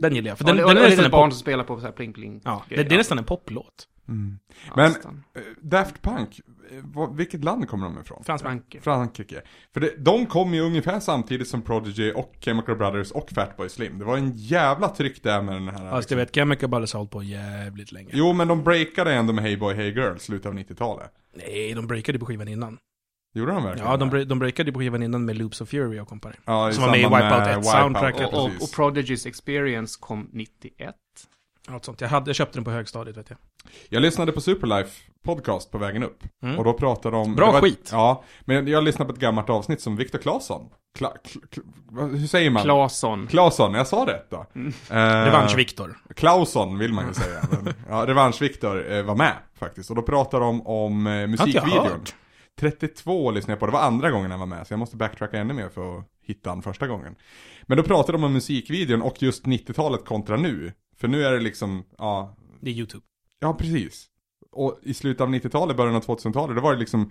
Speaker 1: Den gillar jag, för den,
Speaker 5: och,
Speaker 1: den
Speaker 5: och,
Speaker 1: är
Speaker 5: och
Speaker 1: nästan
Speaker 5: det är
Speaker 1: en
Speaker 5: barn
Speaker 1: pop...
Speaker 5: som spelar på så här pling pling.
Speaker 1: Ja, det, det är nästan en poplåt.
Speaker 3: Mm.
Speaker 5: Ja,
Speaker 3: Men-
Speaker 5: nästan.
Speaker 3: Eh, Daft Punk, eh, vad- vilket land kommer de ifrån?
Speaker 1: Frans Frank.
Speaker 5: Frankrike.
Speaker 3: Frankrike. För det, de kom ju ungefär samtidigt som Prodigy och Chemical Brothers och Fatboy Slim. Det var en jävla tryck där med den här...
Speaker 1: Fast jag vet, Chemical Brothers har hållit på jävligt länge.
Speaker 3: Jo, men de breakade ändå med Hey Boy Hey Girl, slutet av 90-talet.
Speaker 1: Nej, de breakade på skivan innan.
Speaker 3: Gjorde de verkligen
Speaker 1: Ja, de,
Speaker 3: det?
Speaker 1: bre- de breakade på skivan innan med Loops of Fury och kompani.
Speaker 3: ja, i
Speaker 1: som var med i
Speaker 3: samband
Speaker 1: Wipeout
Speaker 3: med
Speaker 1: ett, soundtracket.
Speaker 3: ja,
Speaker 5: Och, och,
Speaker 3: precis.
Speaker 5: och Prodigy's Experience kom 91.
Speaker 1: Något sånt. Jag, hade, jag köpte den på högstadiet vet jag.
Speaker 3: Jag lyssnade på Superlife podcast på vägen upp.
Speaker 1: Mm.
Speaker 3: Och då pratade de...
Speaker 1: Bra
Speaker 3: det var,
Speaker 1: skit.
Speaker 3: Ja, men jag lyssnade på ett gammalt avsnitt som Viktor Claesson. Kla, kla, kla, vad- hur säger man?
Speaker 5: Claesson.
Speaker 3: Claesson, jag sa rätt då.
Speaker 1: Mm.
Speaker 3: Eh,
Speaker 1: Revansch-Viktor.
Speaker 3: Claesson vill
Speaker 1: Mm.
Speaker 3: man ju säga. Men, ja, Revansch-Viktor eh, var med faktiskt. Och då pratade de om eh,
Speaker 1: Har inte jag
Speaker 3: musikvideon.
Speaker 1: hört.
Speaker 3: 32 lyssnade jag på, det var andra gången han var med. Så jag måste backtracka ännu mer för att hitta han första gången. Men då pratade de om musikvideon och just 90-talet kontra nu. För nu är det liksom, ja,
Speaker 1: Det är YouTube.
Speaker 3: Ja, precis. Och i slutet av 90-talet, början av 2000-talet, då var det liksom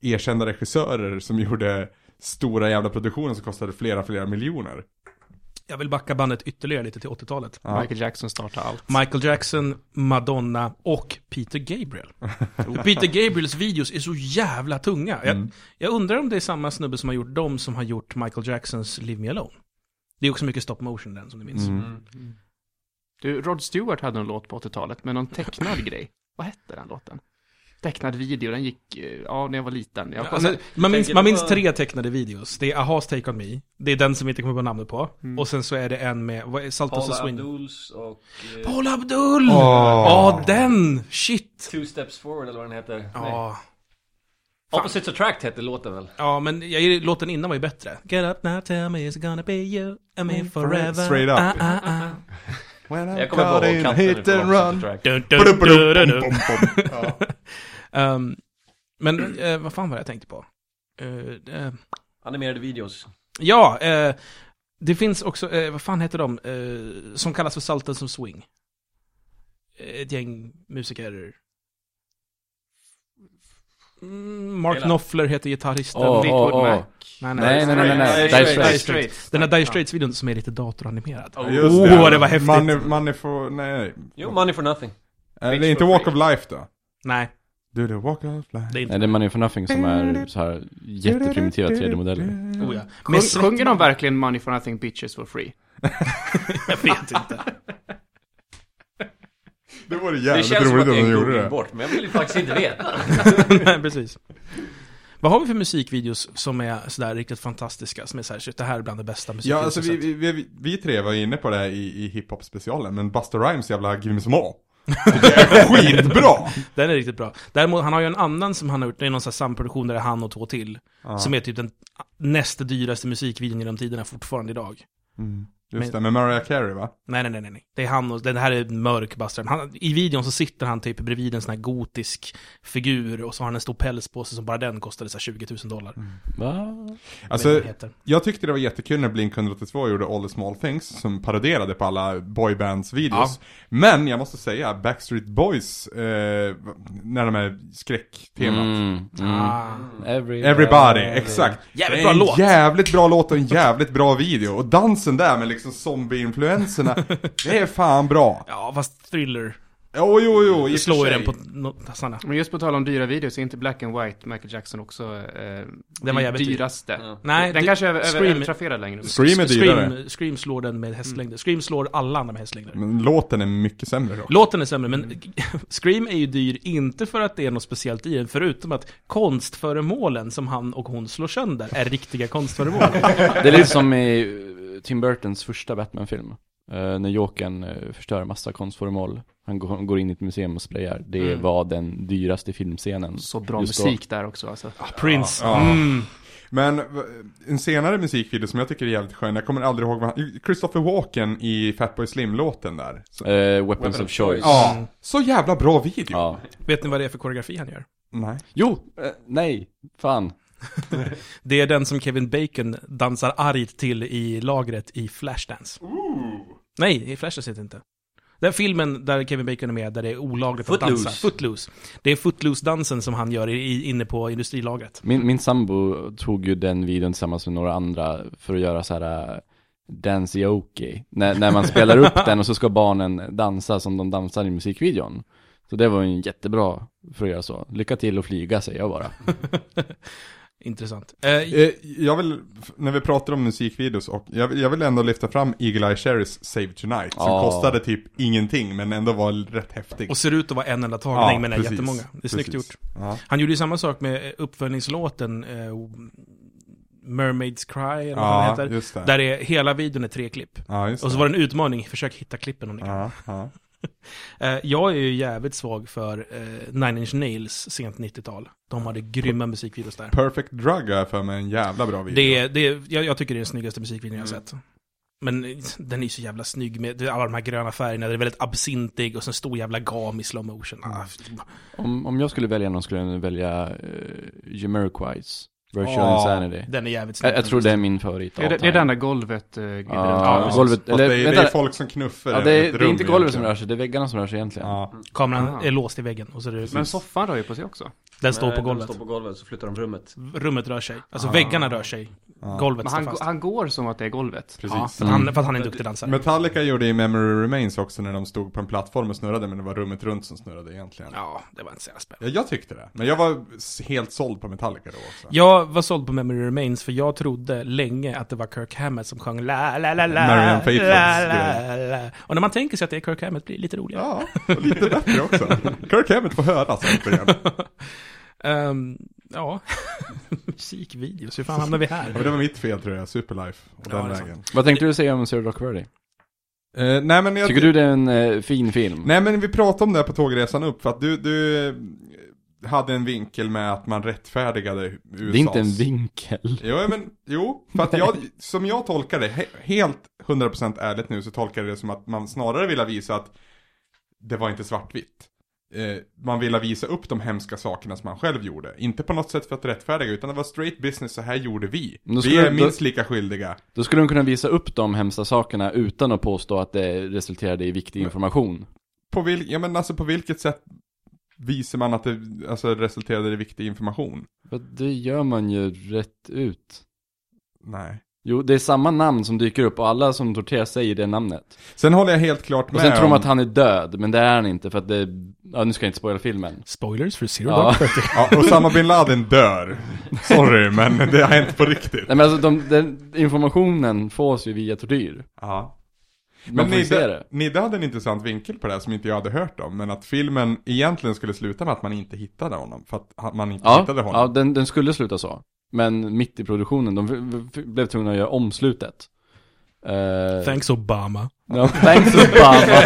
Speaker 3: erkända regissörer som gjorde stora jävla produktioner som kostade flera, flera miljoner.
Speaker 1: Jag vill backa bandet ytterligare lite till 80-talet.
Speaker 3: Ja.
Speaker 5: Michael Jackson startar allt.
Speaker 1: Michael Jackson, Madonna och Peter Gabriel. Och Peter Gabriels videos är så jävla tunga.
Speaker 3: Mm.
Speaker 1: Jag, jag undrar om det är samma snubbe som har gjort dem som har gjort Michael Jacksons Leave Me Alone. Det är också mycket stop motion den som ni minns.
Speaker 3: Mm.
Speaker 2: Mm.
Speaker 5: Du, Rod Stewart hade en låt på 80-talet med någon tecknad grej. Vad hette den låten? Tecknad video, den gick, eh, ja, när jag var liten. Jag
Speaker 1: Alltså, man, minns,
Speaker 2: tänker
Speaker 1: man
Speaker 2: det
Speaker 1: minns
Speaker 2: var-
Speaker 1: tre tecknade videos. Det är Ahas Take On Me, det är den som vi inte kommer på namnet på. Och sen så är det en med, vad är Saltos och
Speaker 2: Paula
Speaker 1: Swin?
Speaker 2: Abduls och... eh,
Speaker 1: Paul Abdul!
Speaker 3: Åh.
Speaker 1: Ja, den! Shit!
Speaker 2: Two Steps Forward eller vad den heter. Nej.
Speaker 1: Ja.
Speaker 2: Opposites Attract hette låten väl?
Speaker 1: ja, men jag, låten innan var ju bättre. Get up now, tell me it's gonna be you and me forever.
Speaker 3: Straight up.
Speaker 1: Ah, ah, ah.
Speaker 3: When I'm
Speaker 2: Jag kommer
Speaker 3: caught
Speaker 2: inte
Speaker 3: in
Speaker 2: ihåg katten
Speaker 3: hit
Speaker 2: från
Speaker 3: and
Speaker 2: Opposites
Speaker 3: run.
Speaker 2: Attract.
Speaker 1: Dun, dun,
Speaker 3: Blub, blub,
Speaker 1: dun, dun,
Speaker 3: bom,
Speaker 1: dun.
Speaker 3: bom, bom. Ja.
Speaker 1: Ehm, Men eh, vad fan var det jag tänkte på? Eh, eh,
Speaker 2: Animerade videos.
Speaker 1: ja, eh, det finns också, eh, vad fan heter de, Eh, som kallas för Salten som Swing. Eh, Ett gäng musiker. Mm, Mark
Speaker 2: Hela.
Speaker 1: Knopfler heter gitarristen.
Speaker 4: Åh,
Speaker 1: Dick-
Speaker 4: åh,
Speaker 5: Fleetwood
Speaker 4: åh.
Speaker 5: Mac.
Speaker 4: Nej, nej, nej, nej, nej.
Speaker 2: Dire
Speaker 4: Dire
Speaker 2: Straits.
Speaker 4: Straits.
Speaker 5: Straits.
Speaker 1: Den här Dire Straits-videon som är lite datoranimerad.
Speaker 2: Oh.
Speaker 3: Just
Speaker 1: Åh, det var häftigt.
Speaker 3: Money, money for, nej, nej.
Speaker 2: Jo, Money for Nothing.
Speaker 3: Är det inte Walk of Life då?
Speaker 1: Nej,
Speaker 3: Do the walk of life.
Speaker 1: det är inte.
Speaker 4: Nej, det är Money for Nothing som är så här
Speaker 3: [laughs]
Speaker 4: jätteprimitiva 3D-modeller.
Speaker 1: Oh, ja.
Speaker 5: Sjung,
Speaker 1: Men sjung...
Speaker 5: sjunger de verkligen Money for Nothing Bitches for Free?
Speaker 1: Jag vet inte.
Speaker 3: Det vore
Speaker 2: Det
Speaker 3: jävligt
Speaker 2: känns som att
Speaker 3: roligt
Speaker 2: det
Speaker 3: om
Speaker 2: är
Speaker 3: de
Speaker 2: en
Speaker 3: gjorde
Speaker 2: googling
Speaker 3: det.
Speaker 2: bort, men jag vill ju faktiskt
Speaker 3: [laughs]
Speaker 2: inte veta.
Speaker 1: [laughs] Nej, precis. Vad har vi för musikvideos som är sådär riktigt fantastiska? Som är såhär, shit, det här är bland det bästa
Speaker 3: Ja,
Speaker 1: musikvideos
Speaker 3: alltså
Speaker 1: jag
Speaker 3: vi,
Speaker 1: sett.
Speaker 3: vi, vi, vi tre var inne på det här i, i hiphop-specialen, men Buster Rhymes jävla Give Me Some More. Det
Speaker 1: [laughs]
Speaker 3: är skitbra!
Speaker 1: Den är riktigt bra. Däremot, han har ju en annan som han har gjort, det är någon sån här samproduktion där det är han och två till. Som är typ den näst dyraste musikvideon genom tiderna fortfarande idag. Mm.
Speaker 3: Just det, med Mariah Carey va?
Speaker 1: Nej, nej, nej, nej, nej. Det är han och, den här är mörk Buster. Han, I videon så sitter han typ bredvid en sån här gotisk figur och så har han en stor päls på sig som bara den kostade så här 20 000 dollar.
Speaker 3: Mm.
Speaker 4: Va?
Speaker 3: Alltså,
Speaker 1: det heter.
Speaker 3: jag tyckte det var jättekul när Blink 182 gjorde All the small things som paroderade på alla boybands-videos. Men jag måste säga, Backstreet Boys, eh, när de är skräcktemat.
Speaker 4: Mm, mm.
Speaker 1: Ah.
Speaker 4: Everybody.
Speaker 3: Everybody, exakt.
Speaker 1: Jävligt
Speaker 3: Det är
Speaker 1: bra
Speaker 3: en
Speaker 1: låt.
Speaker 3: Jävligt bra låt och en jävligt bra video. Och dansen där med liksom
Speaker 1: [laughs]
Speaker 3: zombie-influenserna, det är fan bra.
Speaker 1: Ja, fast thriller.
Speaker 3: Jo, jo, jo, i och för
Speaker 1: Det slår ju
Speaker 3: sig.
Speaker 1: den på no- tassarna.
Speaker 5: Men just på tal om dyra videos, är inte Black and White Michael Jackson också eh,
Speaker 1: Den var jävligt dyr.
Speaker 5: dyraste?
Speaker 1: Nej,
Speaker 5: Den
Speaker 1: du-
Speaker 5: kanske är över, över,
Speaker 1: Scream-
Speaker 5: övertrafferad längre nu.
Speaker 3: Scream är dyrare. Mm.
Speaker 1: Scream, Scream slår den med hästlängder. Scream slår alla andra med hästlängder.
Speaker 3: Men låten är mycket sämre då.
Speaker 1: Låten är sämre,
Speaker 3: Mm.
Speaker 1: men [laughs] Scream är ju dyr inte för att det är något speciellt i den, förutom att konstföremålen som han och hon slår sönder är riktiga
Speaker 3: [laughs]
Speaker 1: konstföremål.
Speaker 4: Det är lite som i eh, Tim Burtons första Batman-film. Eh, när Jokern eh, förstör massa konstföremål. Han går, går in i ett museum och sprayar. Det
Speaker 1: Mm.
Speaker 4: var den dyraste filmscenen.
Speaker 5: Så bra
Speaker 4: Just då.
Speaker 5: musik där också alltså.
Speaker 1: Prince.
Speaker 3: Ja.
Speaker 1: Mm.
Speaker 3: Men v- en senare musikvideo som jag tycker är jävligt skön, jag kommer aldrig ihåg vad han, Christopher Walken i Fatboy Slim-låten där.
Speaker 1: Mm.
Speaker 3: Så,
Speaker 4: Eh, Weapons, of Choice.
Speaker 3: ja, så jävla bra video.
Speaker 4: Ja.
Speaker 1: Vet ni vad det är för koreografi han gör?
Speaker 3: Nej.
Speaker 4: Jo! eh, nej! Fan.
Speaker 1: Det är den som Kevin Bacon dansar argt till i lagret i Flashdance. Nej, i Flashdance heter det inte. Den filmen där Kevin Bacon är med, där det är olagligt att dansa.
Speaker 2: Footloose.
Speaker 1: Footloose. Det är Footloose-dansen som han gör i, inne på
Speaker 3: [laughs]
Speaker 1: industrilagret.
Speaker 4: Min, min sambo tog ju den videon tillsammans med några andra för att göra så här eh, Dance Yoki. När, när man
Speaker 5: [laughs]
Speaker 4: spelar upp den och så ska barnen dansa som de dansar i musikvideon. Så det var ju en jättebra för att göra så. Lycka till och flyga säger jag bara.
Speaker 1: Intressant. Eh,
Speaker 3: Eh, Jag vill, f- när vi pratar om musikvideos och, jag vill, jag vill ändå lyfta fram Eagle Eye Cherries Save Tonight, som
Speaker 4: Ja.
Speaker 3: kostade typ ingenting, men ändå var rätt häftig.
Speaker 1: Och ser ut att vara en enda tagning,
Speaker 3: Ja,
Speaker 1: men är
Speaker 3: precis.
Speaker 1: jättemånga. Det är snyggt
Speaker 3: Precis.
Speaker 1: gjort.
Speaker 3: Ja.
Speaker 1: Han gjorde ju samma sak med eh, uppföljningslåten eh, Mermaids Cry, eller vad den
Speaker 3: Ja,
Speaker 1: heter.
Speaker 3: just det.
Speaker 1: Där är, hela videon är tre klipp.
Speaker 3: Ja, just
Speaker 1: Och så
Speaker 3: det.
Speaker 1: var det en utmaning, försök hitta klippen om ni kan.
Speaker 3: Ja, ja.
Speaker 1: Eh, Jag är ju jävligt svag för eh, Nine Inch Nails sent 90-tal. De hade grymma musikvideos där.
Speaker 3: Perfect Drug är för mig en jävla bra video.
Speaker 1: Det, är- det, är- jag, jag tycker det är den snyggaste musikvideon jag har
Speaker 4: Mm.
Speaker 1: sett. Men eh, den är ju så jävla snygg med det- alla de här gröna färgerna, den är väldigt absintig och så en stor jävla gam i slow motion.
Speaker 4: Mm.
Speaker 1: Ah,
Speaker 4: Om, om jag skulle välja någon skulle jag välja uh, Jamiroquais Virtual
Speaker 3: Ja.
Speaker 4: Insanity.
Speaker 1: den är jävligt snygg.
Speaker 4: Jag, jag tror det är min favorit.
Speaker 5: Det, är-
Speaker 4: all
Speaker 5: det är det
Speaker 4: time.
Speaker 5: enda golvet. eh, i
Speaker 4: Ja,
Speaker 5: den-
Speaker 4: golvet,
Speaker 3: Fast
Speaker 4: eller,
Speaker 3: det, är, det
Speaker 4: vänta,
Speaker 3: är folk som knuffar
Speaker 4: ja,
Speaker 3: i
Speaker 4: det,
Speaker 3: ett
Speaker 4: är, det är
Speaker 3: rum
Speaker 4: inte golvet som
Speaker 3: egentligen.
Speaker 4: rör sig, det är väggan som rör sig egentligen.
Speaker 3: Ja.
Speaker 1: Kameran
Speaker 4: Ah.
Speaker 5: Aha.
Speaker 1: är låst i väggen och så är det,
Speaker 5: Men Eh, soffan rör ju på sig också.
Speaker 1: den står
Speaker 2: Nej,
Speaker 1: på golvet.
Speaker 2: eh, Den står på golvet så flyttar de rummet.
Speaker 1: Rummet rör sig,
Speaker 4: Ah.
Speaker 1: alltså väggarna rör sig. Golvet
Speaker 5: Ah. Men
Speaker 1: står
Speaker 5: han,
Speaker 1: fast.
Speaker 5: han går som att det är golvet.
Speaker 1: Ja,
Speaker 3: Precis.
Speaker 1: för, att
Speaker 4: Mm.
Speaker 1: han, för att han är en duktig dansare.
Speaker 3: Metallica gjorde i Memory Remains också när de stod på en plattform och snurrade, men det var rummet runt som snurrade egentligen. Ja.
Speaker 1: Ja, det var inte så jävla spännande.
Speaker 3: Jag tyckte det, men jag var s- helt såld på Metallica då också.
Speaker 1: Jag var såld på Memory Remains för jag trodde länge att det var Kirk Hammett som sjöng la la la la
Speaker 3: Marianne Faithfuls
Speaker 1: la, la, la. Och när man tänker sig att det är Kirk Hammett blir det lite roligare.
Speaker 3: Ja, och lite bättre också. Kirk Hammett får höras återigen. Ja,
Speaker 1: [laughs] Ehm, ja. [laughs] musikvideos, hur fan hamnar vi här?
Speaker 3: men det var mitt fel tror jag, Superlife och
Speaker 1: Ja,
Speaker 3: den
Speaker 1: det är
Speaker 3: vägen.
Speaker 4: Vad tänkte du säga om Zero Dark Thirty?
Speaker 3: Eh, nej, men jag,
Speaker 4: Tycker du det är en eh, fin film?
Speaker 3: nej men vi pratade om det här på tågresan upp, för att du, du eh, hade en vinkel med att man rättfärdigade USAs.
Speaker 4: det är inte en vinkel.
Speaker 3: Jo, men, jo, för att jag, som jag tolkar det, he- helt 100% ärligt nu så tolkar jag det som att man snarare ville visa att det var inte svartvitt. Eh, man ville visa upp de hemska sakerna som man själv gjorde. Inte på något sätt för att rättfärdiga, utan det var straight business, så här gjorde vi.
Speaker 4: Men då
Speaker 3: Vi
Speaker 4: skulle-
Speaker 3: är
Speaker 4: då-
Speaker 3: minst lika skyldiga.
Speaker 4: Då skulle de kunna visa upp de hemska sakerna utan att påstå att det resulterade i viktig information.
Speaker 3: På, vil, ja, men alltså, på vilket sätt visar man att det alltså, resulterade i viktig information?
Speaker 4: För det gör man ju rätt ut.
Speaker 3: Nej.
Speaker 4: Jo, det är samma namn som dyker upp och alla som torterar säger det namnet.
Speaker 3: Sen håller jag helt klart med
Speaker 4: Och sen tror
Speaker 3: om...
Speaker 4: de att han är död, men det är han inte för att det... Ja, nu ska jag inte spoila filmen.
Speaker 1: Spoilers för Zero
Speaker 4: Ja.
Speaker 3: Ja, Osama bin Laden
Speaker 4: [laughs]
Speaker 3: dör. Sorry, men det har hänt på riktigt.
Speaker 4: Nej men alltså, de, den informationen fås ju via tortyr.
Speaker 3: Ja.
Speaker 4: Man
Speaker 3: Men
Speaker 4: får ju se
Speaker 3: Nidde,
Speaker 4: det.
Speaker 3: Nidde hade en intressant vinkel på det här som inte jag hade hört om, men att filmen egentligen skulle sluta med att man inte hittade honom, för att han- man inte
Speaker 4: Ja,
Speaker 3: hittade honom.
Speaker 4: ja den, den skulle sluta så. Men mitt i produktionen, de f- f- blev tvungna att göra omslutet. Uh,
Speaker 1: Thanks Obama.
Speaker 3: [laughs]
Speaker 4: no, thanks Obama.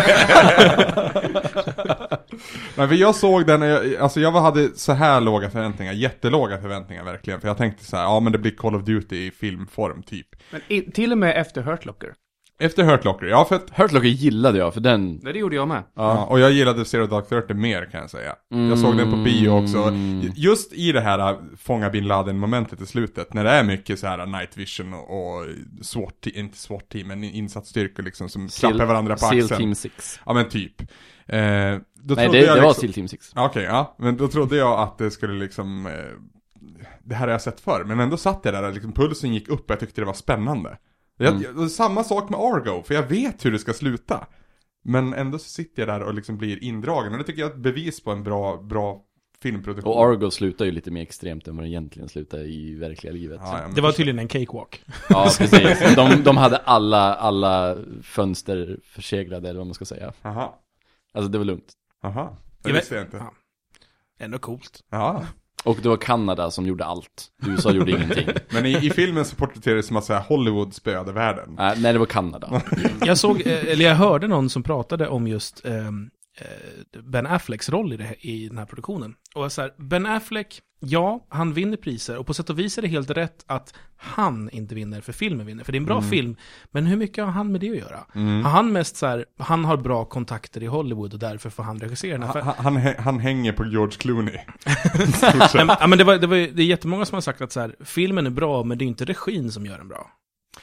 Speaker 3: Nej, för jag såg den, när jag- alltså jag var- hade så här låga förväntningar, jättelåga förväntningar verkligen, för jag tänkte så här, ja men det blir Call of Duty i filmform typ.
Speaker 5: Men i, till och med efter Hurt Locker.
Speaker 3: Efter Hurt Locker, ja för att,
Speaker 4: Hurt Locker gillade jag för den...
Speaker 5: Nej, Det gjorde jag med.
Speaker 3: ja, och jag gillade Zero Dark Thirty mer kan jag säga. Jag såg den på bio också.
Speaker 4: Mm.
Speaker 3: Just i det här äh, fånga bin Laden momentet i slutet, när det är mycket så här äh, night vision och och SWAT, inte SWAT team, men insatsstyrkor liksom som
Speaker 4: Seal-
Speaker 3: klappar varandra på axeln.
Speaker 4: Seal Team 6.
Speaker 3: Ja men typ. Eh, då
Speaker 4: Nej,
Speaker 3: trodde
Speaker 4: det,
Speaker 3: jag
Speaker 4: det var
Speaker 3: liksom-
Speaker 4: Seal Team 6.
Speaker 3: Ja, Okej, ja. Men då trodde jag att det skulle liksom... Eh, det här har jag sett förr, men ändå satt jag där och liksom, pulsen gick upp och jag tyckte det var spännande. Jag,
Speaker 4: Mm.
Speaker 3: jag, och samma sak med Argo, för jag vet hur det ska sluta. Men ändå så sitter jag där och liksom blir indragen och det tycker jag är ett bevis på en bra, bra filmproduktion.
Speaker 4: Och Argo slutar ju lite mer extremt än vad det egentligen slutar i verkliga livet.
Speaker 3: Ja, ja, men
Speaker 1: Det var tydligen en cakewalk.
Speaker 4: Ja, precis. De, de hade alla, alla fönster förseglade, eller vad man ska säga.
Speaker 3: Aha,
Speaker 4: Alltså det var lugnt.
Speaker 3: aha.
Speaker 1: Jag
Speaker 3: Det
Speaker 1: vet-
Speaker 3: visste jag inte.
Speaker 1: Ja. Ändå coolt.
Speaker 3: Ja.
Speaker 4: Och det var Kanada som gjorde allt. USA gjorde [laughs] ingenting.
Speaker 3: Men i, i filmen så porträtteras det som att säga Hollywood spöade världen.
Speaker 4: Nej, nej, det var Kanada.
Speaker 1: Jag såg, eh, eller jag hörde någon som pratade om just ehm, eh, Ben Afflecks roll i, det, här- i den här produktionen. Och jag så här, Ben Affleck, ja, han vinner priser och på sätt och vis är det helt rätt att han inte vinner för filmen vinner, för det är en bra
Speaker 3: Mm.
Speaker 1: film. Men hur mycket har han med det att göra? Har han mest så här, han har bra kontakter i Hollywood och därför får han regissera den här. För-
Speaker 3: Han, han, hä- han hänger på George Clooney.
Speaker 1: Nej, men- ja, men det, var, det, var, ju- det är jättemånga som har sagt att så här, filmen är bra, men det är inte regin som gör den bra.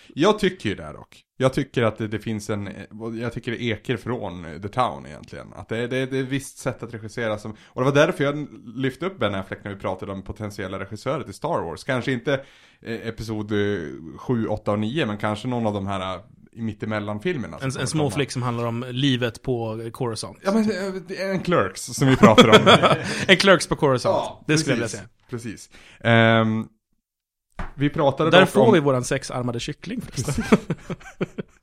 Speaker 3: Jag tycker ju det här dock. Jag tycker att det, det finns en, jag tycker det eker från eh, The Town egentligen. Att det, det, det är ett visst sätt att regissera som, och det var därför jag lyfte upp Ben Affleck när vi pratade om potentiella regissörer till Star Wars. Kanske inte eh, episod eh, 7, 8 och 9, men kanske någon av de här eh, i mittemellan-filmerna. som
Speaker 1: En, en
Speaker 3: kommer komma.
Speaker 1: småflick som handlar om livet på Coruscant.
Speaker 3: Ja men eh, det är en Clerks som vi pratar
Speaker 1: [laughs]
Speaker 3: om.
Speaker 1: En Clerks på Coruscant.
Speaker 3: Ja,
Speaker 1: det skulle jag vilja
Speaker 3: precis.
Speaker 1: säga.
Speaker 3: Precis. Ehm, vi pratade
Speaker 1: Där
Speaker 3: dock
Speaker 1: får
Speaker 3: om...
Speaker 1: vi våran sexarmade kyckling förresten.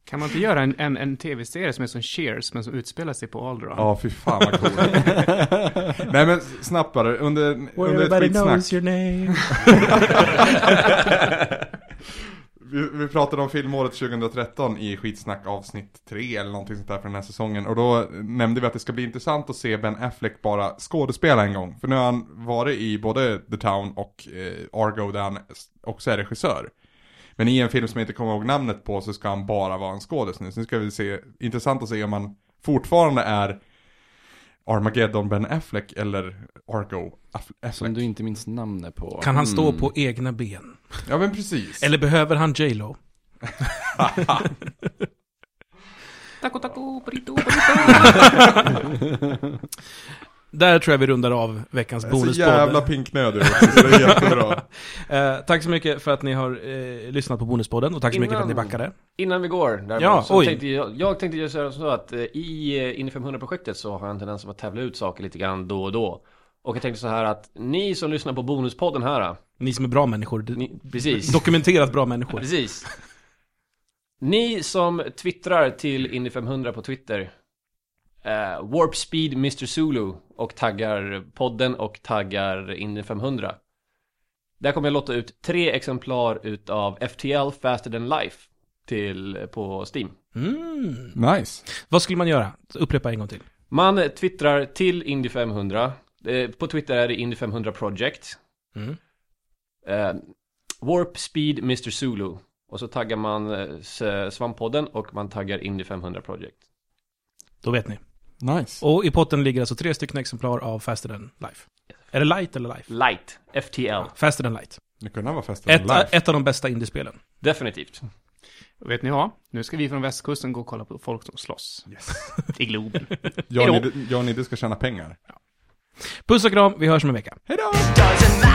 Speaker 5: Kan man inte göra en, en, en tv-serie som är som Cheers, men som utspelar sig på Alderaan?
Speaker 3: Ja, fy fan vad coolt. Nej men snabbt bara, under, under ett skitsnack.
Speaker 1: your name.
Speaker 3: Vi, vi pratade om filmåret 2013 i skitsnack avsnitt 3 eller någonting sånt där för den här säsongen. Och då nämnde vi att det ska bli intressant att se Ben Affleck bara skådespela en gång. För nu har han varit i både The Town och eh, Argo där han också är regissör. Men i en film som jag inte kommer ihåg namnet på så ska han bara vara en skådis nu. Så nu ska vi se, intressant att se om han fortfarande är Armageddon Ben Affleck eller Argo Aff- Affleck.
Speaker 4: Som du inte minns namnet på.
Speaker 1: Kan han stå
Speaker 4: Mm.
Speaker 1: på egna ben?
Speaker 3: Ja men precis.
Speaker 1: Eller behöver han J-Lo?
Speaker 3: [laughs]
Speaker 5: Taco, taco, burrito,
Speaker 3: [laughs]
Speaker 1: Där tror jag vi rundar av veckans
Speaker 3: Jag är så
Speaker 1: bonuspodd.
Speaker 3: jävla pinknödig också, så det är jättebra.
Speaker 1: Eh, tack så mycket för att ni har eh, lyssnat på bonuspodden och tack så mycket för att ni
Speaker 2: Innan-
Speaker 1: backade.
Speaker 2: Innan vi går däremot,
Speaker 1: Ja,
Speaker 2: så
Speaker 1: oj.
Speaker 2: tänkte jag, jag tänkte just göra så att eh, i eh, Indy 500-projektet så har jag en tendens att tävla ut saker lite grann då och då. Och jag tänkte så här att ni som lyssnar på Bonuspodden här, eh,
Speaker 1: Ni som är bra människor. Du-
Speaker 2: ni, precis,
Speaker 1: Dokumenterat bra människor.
Speaker 2: precis. Ni som twittrar till Indy 500 på Twitter, eh, Warp Speed Mr. Zulu och taggar podden och taggar Indy 500. Där kommer jag låta ut tre exemplar utav FTL Faster Than Life till, på Steam.
Speaker 1: Mm.
Speaker 3: Nice.
Speaker 1: Vad skulle man göra? Upprepa en gång till.
Speaker 2: Man twittrar till Indy500. Eh, På Twitter är det Indy500 Project.
Speaker 1: Mm.
Speaker 2: Eh, Warp Speed Mr. Zulu. Och så taggar man eh, S- Svamppodden och man taggar Indy500 Project.
Speaker 1: Då vet ni.
Speaker 3: Nice.
Speaker 1: Och i potten ligger alltså tre stycken exemplar av Faster than Life. Är det Light eller Life?
Speaker 2: Light, FTL.
Speaker 1: Faster than Light.
Speaker 3: Det kunde vara festen
Speaker 1: Ett,
Speaker 3: live.
Speaker 1: ett av de bästa indiespelen.
Speaker 2: Definitivt.
Speaker 5: Och Vet ni vad? Nu ska vi från västkusten gå och kolla på folk som slåss. I Globen.
Speaker 3: Jag och Nidde- jag och Nidde ska tjäna pengar.
Speaker 1: Puss och kram, vi hörs om en vecka.
Speaker 3: Hejdå!
Speaker 6: Doesn't matter.